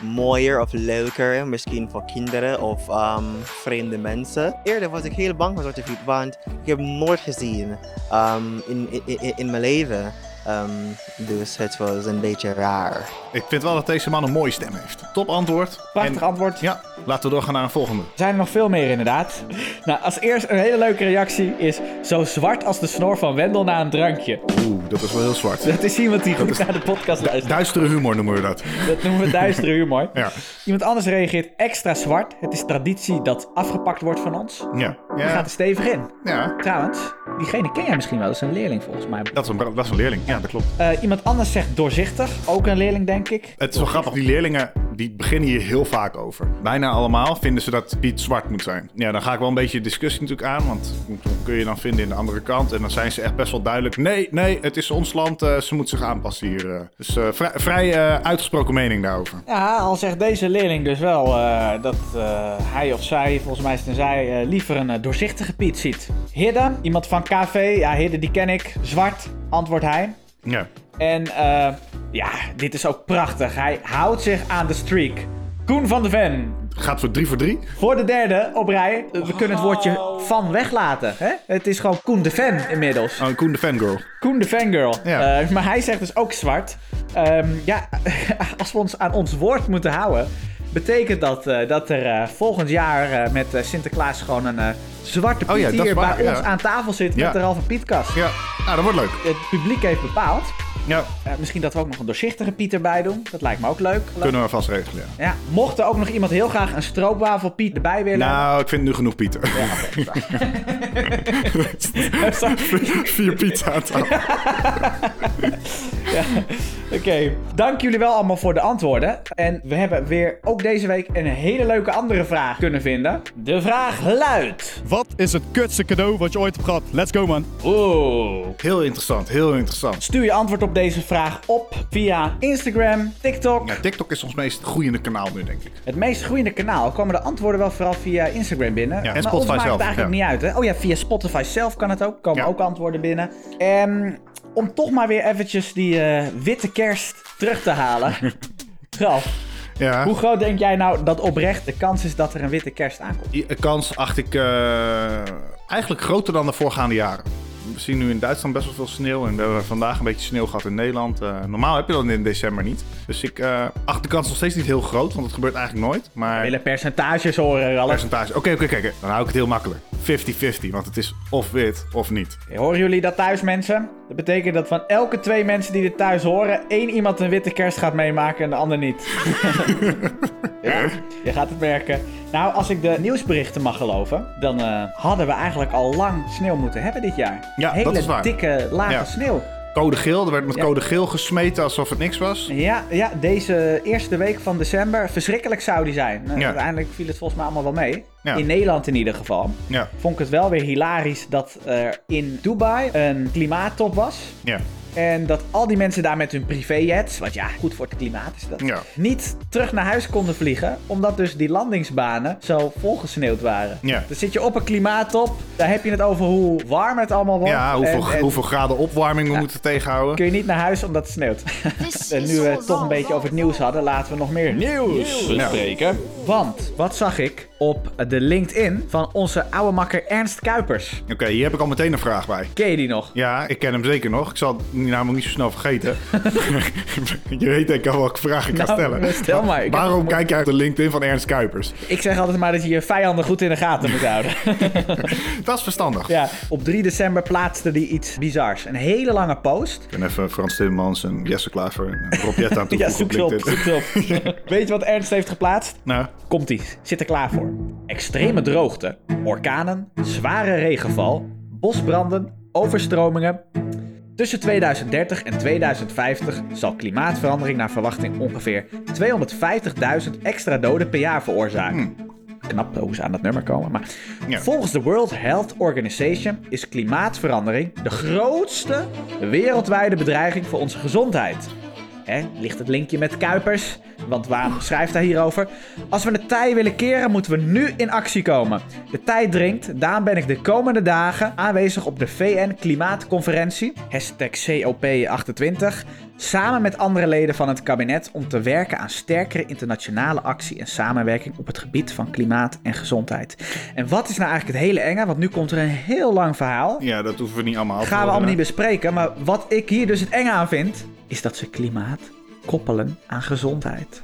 Speaker 9: mooier of leuker. Misschien voor kinderen of ehm, vreemde mensen. Eerder was ik heel bang voor Zwarte Piet, want ik heb hem nooit gezien ehm, in, in, in- in mijn leven. Ehm, dus het was een beetje raar.
Speaker 3: Ik vind wel dat deze man een mooie stem heeft. Top antwoord.
Speaker 5: Prachtig
Speaker 3: En-
Speaker 5: antwoord.
Speaker 3: Ja, laten we doorgaan naar een volgende.
Speaker 5: Er zijn er nog veel meer inderdaad. Nou, als eerst een hele leuke reactie is... Zo zwart als de snor van Wendel na een drankje.
Speaker 3: Oeh, dat is wel heel zwart.
Speaker 5: Dat is iemand die goed naar de podcast luistert.
Speaker 3: Duistere humor noemen we dat.
Speaker 5: Dat noemen we duistere humor.
Speaker 3: Ja.
Speaker 5: Iemand anders reageert extra zwart. Het is traditie dat afgepakt wordt van ons. Die
Speaker 3: Ja.
Speaker 5: gaat dus-
Speaker 3: Ja.
Speaker 5: er stevig in.
Speaker 3: ja.
Speaker 5: Trouwens, diegene ken jij misschien wel. Dat is een leerling volgens mij.
Speaker 3: Dat, is een, dat is een leerling. Ja, dat klopt.
Speaker 5: Eh, iemand anders zegt doorzichtig. Ook een leerling, denk ik.
Speaker 3: Het is wel grappig, die leerlingen die beginnen hier heel vaak over. Bijna allemaal vinden ze dat Piet zwart moet zijn. Ja, dan ga ik wel een beetje discussie natuurlijk aan, want hoe kun je dan vinden in de andere kant? En dan zijn ze echt best wel duidelijk, nee, nee, het is ons land, eh, ze moet zich aanpassen hier. eh. Dus eh, vrij, vrij eh, uitgesproken mening daarover.
Speaker 5: Ja, al zegt deze leerling dus wel eh, dat eh, hij of zij, volgens mij is het een zij, eh, liever een eh, doorzichtige Piet ziet. Hidde, iemand van KV. Ja, Hidde die ken ik. Zwart, antwoordt hij.
Speaker 3: Ja.
Speaker 5: En eh, ja, dit is ook prachtig. Hij houdt zich aan de streak. Koen van de Ven,
Speaker 3: Gaat voor drie voor drie?
Speaker 5: Voor de derde op rij. We kunnen het woordje van weglaten. Hè? Het is gewoon Koen de Fan inmiddels.
Speaker 3: Oh, Koen de fangirl.
Speaker 5: Koen de Fangirl.
Speaker 3: Ja.
Speaker 5: Eh, maar hij zegt dus ook zwart. Ehm, ja, als we ons aan ons woord moeten houden. Betekent dat eh, dat er eh, volgend jaar eh, met eh, Sinterklaas gewoon een eh, zwarte Piet
Speaker 3: Oh ja, dat is
Speaker 5: hier
Speaker 3: waar,
Speaker 5: bij
Speaker 3: ja.
Speaker 5: ons aan tafel zit
Speaker 3: Ja.
Speaker 5: met de Ralph en Pietkast?
Speaker 3: Ja, nou, dat wordt leuk.
Speaker 5: Het publiek heeft bepaald.
Speaker 3: Ja,
Speaker 5: Eh, misschien dat we ook nog een doorzichtige Piet erbij doen. Dat lijkt me ook leuk.
Speaker 3: kunnen we vast regelen. ja.
Speaker 5: Ja, mocht er ook nog iemand heel graag een stroopwafel Piet erbij willen.
Speaker 3: Nou, ik vind nu genoeg Pieter. Vier Pieten aan tafel.
Speaker 5: Oké, dank jullie wel allemaal voor de antwoorden. En we hebben weer ook deze week een hele leuke andere vraag kunnen vinden. De vraag luidt...
Speaker 10: Wat is het kutste cadeau wat je ooit hebt gehad? Let's go, man.
Speaker 5: Oeh.
Speaker 3: Heel interessant, heel interessant.
Speaker 5: Stuur je antwoord op deze vraag op via Instagram, TikTok.
Speaker 3: Ja, TikTok is ons meest groeiende kanaal nu, denk ik.
Speaker 5: Het meest groeiende kanaal komen de antwoorden wel vooral via Instagram binnen.
Speaker 3: en
Speaker 5: maar
Speaker 3: Spotify
Speaker 5: ons maakt
Speaker 3: zelf,
Speaker 5: het eigenlijk
Speaker 3: ja.
Speaker 5: niet uit. Hè? Oh ja, via Spotify zelf kan het ook. Komen
Speaker 3: Ja.
Speaker 5: ook antwoorden binnen. En om toch maar weer eventjes die eh, witte kerst terug te halen. Ralf,
Speaker 3: Ja.
Speaker 5: Hoe groot denk jij nou dat oprecht de kans is dat er een witte kerst aankomt?
Speaker 3: Die kans acht ik eh, eigenlijk groter dan de voorgaande jaren. We zien nu in Duitsland best wel veel sneeuw. En we hebben vandaag een beetje sneeuw gehad in Nederland. Eh, normaal heb je dat in december niet. Dus ik eh, acht de kans nog steeds niet heel groot, want dat gebeurt eigenlijk nooit.
Speaker 5: We
Speaker 3: Maar
Speaker 5: willen percentages horen, Ralf.
Speaker 3: percentage. Oké, oké, kijk. Dan hou ik het heel makkelijk. 50-50, want het is of wit of niet.
Speaker 5: Horen jullie dat thuis, mensen? Dat betekent dat van elke twee mensen die dit thuis horen, één iemand een witte kerst gaat meemaken en de ander niet. Ja, Je gaat het merken. Nou, als ik de nieuwsberichten mag geloven, dan eh, hadden we eigenlijk al lang sneeuw moeten hebben dit jaar.
Speaker 3: Ja,
Speaker 5: Hele
Speaker 3: dat is waar.
Speaker 5: dikke, lage
Speaker 3: Ja.
Speaker 5: sneeuw.
Speaker 3: Code geel, er werd met
Speaker 5: Ja.
Speaker 3: code geel gesmeten alsof het niks was.
Speaker 5: Ja, ja, deze eerste week van december, verschrikkelijk zou die zijn. Nou,
Speaker 3: Ja.
Speaker 5: Uiteindelijk viel het volgens mij allemaal wel mee.
Speaker 3: Ja.
Speaker 5: In Nederland in ieder geval.
Speaker 3: Ja,
Speaker 5: vond ik het wel weer hilarisch dat er in Dubai een klimaattop was.
Speaker 3: ja.
Speaker 5: En dat al die mensen daar met hun privéjets, wat ja, goed voor het klimaat is dat,
Speaker 3: Ja.
Speaker 5: niet terug naar huis konden vliegen. Omdat dus die landingsbanen zo volgesneeuwd waren.
Speaker 3: Ja.
Speaker 5: Dan zit je op een klimaattop, daar heb je het over hoe warm het allemaal wordt.
Speaker 3: Ja, hoeveel,
Speaker 5: en, en
Speaker 3: hoeveel graden opwarming we moeten tegenhouden.
Speaker 5: kun je niet naar huis omdat het sneeuwt. en nu we het toch een beetje over het nieuws hadden, laten we nog meer nieuws bespreken. Want, wat zag ik? op de LinkedIn van onze oude makker Ernst Kuipers.
Speaker 3: Oké, hier heb ik al meteen een vraag bij.
Speaker 5: Ken je die nog?
Speaker 3: Ja, ik ken hem zeker nog. Ik zal het namelijk niet zo snel vergeten. je weet denk ik al welke vraag ik ga
Speaker 5: Nou,
Speaker 3: stellen.
Speaker 5: stel maar. Ik
Speaker 3: Waarom kijk jij op de LinkedIn van Ernst Kuipers?
Speaker 5: Ik zeg altijd maar dat je je vijanden goed in de gaten moet houden.
Speaker 3: Dat is verstandig.
Speaker 5: ja. Op 3 december plaatste hij iets bizars. Een hele lange post.
Speaker 3: Ik ben even Frans Timmermans en Jesse Klaver en eh, Rob Jetta aan
Speaker 5: Ja,
Speaker 3: toevoegen
Speaker 5: zoek ze op.
Speaker 3: LinkedIn.
Speaker 5: Zoek ze op. Weet je wat Ernst heeft geplaatst?
Speaker 3: Nou,
Speaker 5: Komt-ie. Zit er klaar voor. Extreme droogte, orkanen, zware regenval, bosbranden, overstromingen. Tussen 2030 en 2050 zal klimaatverandering naar verwachting ongeveer 250.000 extra doden per jaar veroorzaken. Knap hoe ze aan dat nummer komen. Maar
Speaker 3: Ja.
Speaker 5: volgens de World Health Organization is klimaatverandering de grootste wereldwijde bedreiging voor onze gezondheid. Hè, ligt het linkje met Kuipers? Want waarom schrijft hij hierover? Als we de tij willen keren, moeten we nu in actie komen. De tij dringt, daarom ben ik de komende dagen aanwezig op de VN Klimaatconferentie, hashtag COP28, samen met andere leden van het kabinet om te werken aan sterkere internationale actie en samenwerking op het gebied van klimaat en gezondheid. En wat is nou eigenlijk het hele enge? Want nu komt er een heel lang verhaal
Speaker 3: ja, dat hoeven we niet allemaal af te
Speaker 5: gaan we
Speaker 3: horen,
Speaker 5: allemaal
Speaker 3: hè?
Speaker 5: niet bespreken. Maar wat ik hier dus het eng aan vind, is dat ze klimaat koppelen aan gezondheid.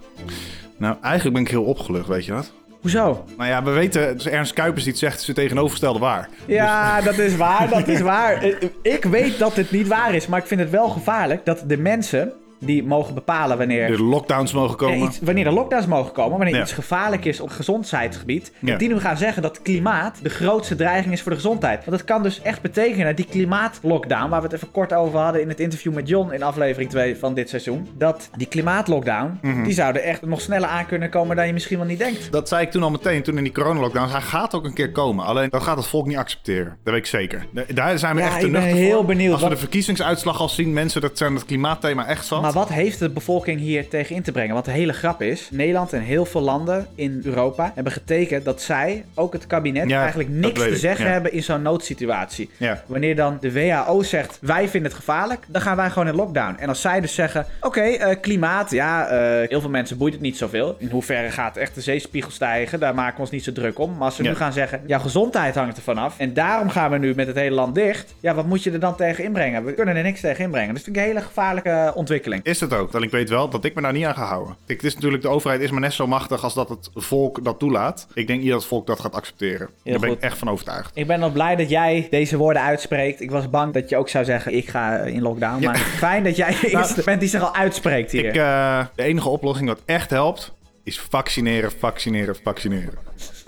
Speaker 3: Nou, eigenlijk ben ik heel opgelucht, weet je dat?
Speaker 5: Hoezo?
Speaker 3: Nou ja, we weten, dus Ernst Kuipers die het zegt, is het tegenovergestelde waar.
Speaker 5: Ja, dat is waar, dat is waar. Eh, Dus- Ik weet dat dit niet waar is, maar ik vind het wel gevaarlijk dat de mensen die mogen bepalen wanneer
Speaker 3: De lockdowns mogen komen.
Speaker 5: Ja, iets- wanneer er lockdowns mogen komen, wanneer
Speaker 3: Ja.
Speaker 5: iets gevaarlijk is op gezondheidsgebied.
Speaker 3: Ja.
Speaker 5: Die nu gaan zeggen dat klimaat de grootste dreiging is voor de gezondheid. Want dat kan dus echt betekenen, die klimaatlockdown, waar we het even kort over hadden in het interview met John in aflevering 2 van dit seizoen. Dat die klimaatlockdown, die zouden echt nog sneller aan kunnen komen dan je misschien wel niet denkt.
Speaker 3: Dat zei Mhm. ik toen al meteen, toen in die coronalockdowns. Hij gaat ook een keer komen. Alleen, dat gaat het volk niet accepteren. Dat weet ik zeker. Da- Daar zijn we
Speaker 5: Ja,
Speaker 3: echt te
Speaker 5: ik ben
Speaker 3: nuchter
Speaker 5: heel
Speaker 3: voor.
Speaker 5: benieuwd.
Speaker 3: Als we
Speaker 5: Wat-
Speaker 3: de verkiezingsuitslag al zien, mensen, dat zijn het klimaatthema echt zat.
Speaker 5: Maar wat heeft de bevolking hier tegen in te brengen? Want de hele grap is, Nederland en heel veel landen in Europa hebben getekend dat zij, ook het kabinet,
Speaker 3: Ja,
Speaker 5: eigenlijk
Speaker 3: dat
Speaker 5: niks
Speaker 3: weet
Speaker 5: te
Speaker 3: ik,
Speaker 5: zeggen
Speaker 3: ja.
Speaker 5: hebben in zo'n noodsituatie.
Speaker 3: Ja.
Speaker 5: Wanneer dan de WHO zegt, wij vinden het gevaarlijk, dan gaan wij gewoon in lockdown. En als zij dus zeggen, oké, eh, klimaat, ja, eh, heel veel mensen boeit het niet zoveel. In hoeverre gaat echt de zeespiegel stijgen, daar maken we ons niet zo druk om. Maar als ze
Speaker 3: Ja.
Speaker 5: nu gaan zeggen, jouw gezondheid hangt ervan af. En daarom gaan we nu met het hele land dicht. Ja, wat moet je er dan tegen inbrengen? We kunnen er niks tegen inbrengen. Dus vind ik een hele gevaarlijke ontwikkeling.
Speaker 3: Is het ook. Want ik weet wel dat ik me daar niet aan ga houden. Kijk, het is natuurlijk, de overheid is maar net zo machtig als dat het volk dat toelaat. Ik denk niet dat het volk dat gaat accepteren. Daar ben ik
Speaker 5: goed.
Speaker 3: echt van overtuigd.
Speaker 5: Ik ben al blij dat jij deze woorden uitspreekt. Ik was bang dat je ook zou zeggen, ik ga in lockdown. Maar fijn dat jij de eerste bent die zich al uitspreekt hier.
Speaker 3: Nou, Ik, eh, de enige oplossing dat echt helpt, is vaccineren, vaccineren, vaccineren.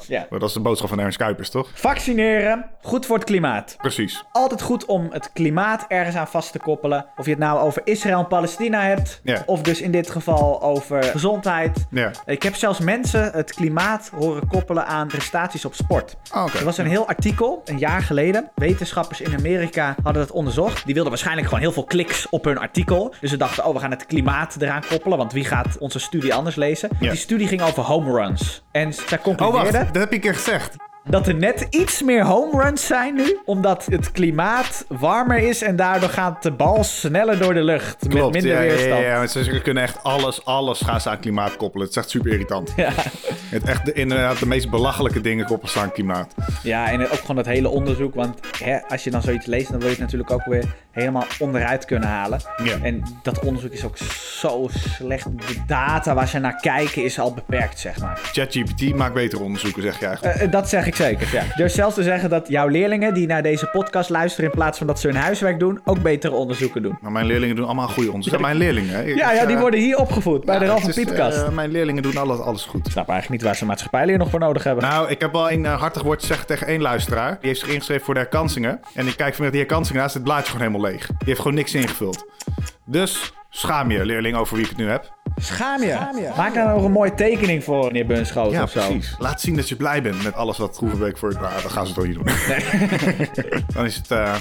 Speaker 5: ja.
Speaker 3: Maar Dat is de boodschap van Ernst Kuipers, toch?
Speaker 5: Vaccineren, goed voor het klimaat.
Speaker 3: Precies.
Speaker 5: Altijd goed om het klimaat ergens aan vast te koppelen. Of je het nou over Israël en Palestina hebt.
Speaker 3: Ja.
Speaker 5: Of dus in dit geval over gezondheid.
Speaker 3: Ja.
Speaker 5: Ik heb zelfs mensen het klimaat horen koppelen aan prestaties op sport.
Speaker 3: Ah, oké.
Speaker 5: Er was een heel artikel, een jaar geleden. Wetenschappers in Amerika hadden dat onderzocht. Die wilden waarschijnlijk gewoon heel veel kliks op hun artikel. Dus ze dachten, oh, we gaan het klimaat eraan koppelen. Want wie gaat onze studie anders lezen?
Speaker 3: Ja.
Speaker 5: Die studie ging over home runs. En daar
Speaker 3: Oh, wacht.
Speaker 5: concludeerden
Speaker 3: Dat heb ik een keer gezegd.
Speaker 5: dat er net iets meer home runs zijn nu. Omdat het klimaat warmer is en daardoor gaat de bal sneller door de lucht. met
Speaker 3: Klopt,
Speaker 5: minder
Speaker 3: ja,
Speaker 5: weerstand.
Speaker 3: Ja, ja, ja, want ze, ze kunnen echt alles, alles gaan ze aan klimaat koppelen. Het is echt super irritant. Het echt de, inderdaad de meest belachelijke dingen koppelen ze aan klimaat.
Speaker 5: Ja, en ook gewoon dat hele onderzoek. Want hè, als je dan zoiets leest, dan wil je het natuurlijk ook weer helemaal onderuit kunnen halen.
Speaker 3: Ja.
Speaker 5: En dat onderzoek is ook zo slecht. De data waar ze naar kijken is al beperkt, zeg maar.
Speaker 3: ChatGPT maakt betere onderzoeken, zeg je eigenlijk.
Speaker 5: Eh, eh, dat zeg ik zeker, ja. Ik Durf zelfs te zeggen dat jouw leerlingen die naar deze podcast luisteren... in plaats van dat ze hun huiswerk doen, ook betere onderzoeken doen.
Speaker 3: Maar mijn leerlingen doen allemaal goede onderzoeken. Mijn leerlingen, hè? Ik-
Speaker 5: Ja, ja, die worden hier opgevoed, bij de
Speaker 3: Ja,
Speaker 5: Ralf
Speaker 3: het
Speaker 5: en
Speaker 3: is,
Speaker 5: Pietkast.
Speaker 3: eh, mijn leerlingen doen alles, alles goed.
Speaker 5: Ik snap eigenlijk niet waar ze maatschappijleer nog voor nodig hebben.
Speaker 3: Nou, ik heb wel een eh, hartig woord te zeggen tegen één luisteraar. Die heeft zich ingeschreven voor de herkansingen. En ik kijk vanmiddag die herkansingen, daar is het blaadje gewoon helemaal leeg. Die heeft gewoon niks ingevuld. Dus schaam je, leerling, over wie ik het nu heb.
Speaker 5: schaam, je. Maak daar nog een mooie tekening voor, meneer Bunschoten
Speaker 3: Ja,
Speaker 5: of zo.
Speaker 3: precies. Laat zien dat je blij bent met alles wat Groevenbeek voor je... Ah, dan gaan ze het toch niet doen. dan is het, eh,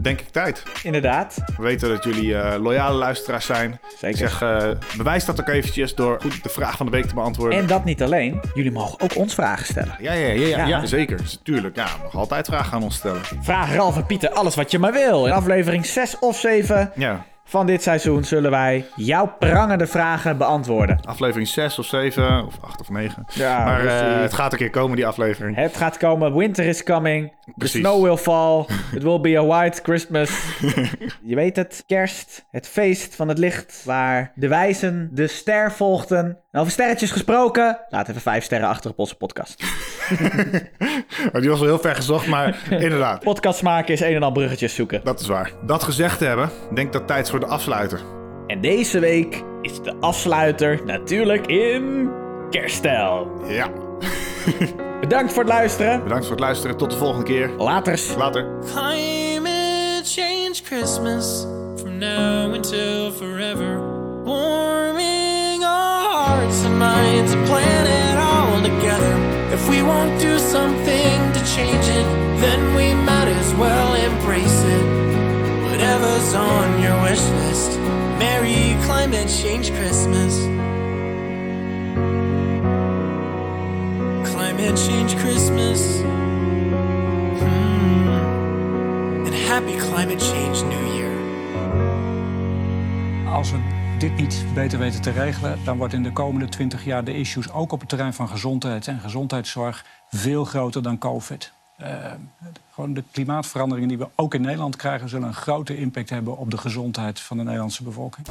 Speaker 3: denk ik, tijd.
Speaker 5: Inderdaad.
Speaker 3: We weten dat jullie eh, loyale luisteraars zijn.
Speaker 5: Zeker.
Speaker 3: Ik zeg, eh, bewijs dat ook eventjes door goed de vraag van de week te beantwoorden.
Speaker 5: En dat niet alleen. Jullie mogen ook ons vragen stellen.
Speaker 3: Ja, ja, ja, ja,
Speaker 5: Ja.
Speaker 3: ja, zeker. Dus Tuurlijk. Ja, we mogen altijd vragen aan ons stellen.
Speaker 5: Vraag Ralf en Pieter alles wat je maar wil. In aflevering 6 of 7.
Speaker 3: Ja.
Speaker 5: van dit seizoen zullen wij jouw prangende vragen beantwoorden.
Speaker 3: Aflevering 6 of 7 of 8 of 9.
Speaker 5: Ja,
Speaker 3: maar
Speaker 5: dus,
Speaker 3: eh,
Speaker 5: eh,
Speaker 3: het gaat een keer komen, die aflevering.
Speaker 5: Het gaat komen, winter is coming, the
Speaker 3: Precies.
Speaker 5: snow will fall, it will be a white Christmas. Je weet het, kerst, het feest van het licht, waar de wijzen de ster volgden. En over sterretjes gesproken, laat even vijf sterren achter op onze podcast.
Speaker 3: Die was wel heel ver gezocht, maar inderdaad.
Speaker 5: Podcast maken is een en al bruggetjes zoeken.
Speaker 3: Dat is waar. Dat gezegd te hebben, denk ik dat het tijd is voor de afsluiter.
Speaker 5: En deze week is de afsluiter natuurlijk in kerststijl.
Speaker 3: Ja,
Speaker 5: Bedankt voor het luisteren.
Speaker 3: bedankt voor het luisteren. Tot de volgende keer.
Speaker 5: Laters.
Speaker 3: Later.
Speaker 2: Climate change Christmas from now until forever. Warming our hearts and minds, a planet all together. If we won't do something to change it, then we might as well embrace it. Whatever's on your wish list, Merry Climate Change Christmas. Climate Change Christmas. Hmm en happy climate change new year.
Speaker 11: Als we dit niet beter weten te regelen, dan wordt in de komende 20 jaar de issues ook op het terrein van gezondheid en gezondheidszorg veel groter dan COVID. Eh, gewoon de klimaatveranderingen die we ook in Nederland krijgen, zullen een grote impact hebben op de gezondheid van de Nederlandse bevolking.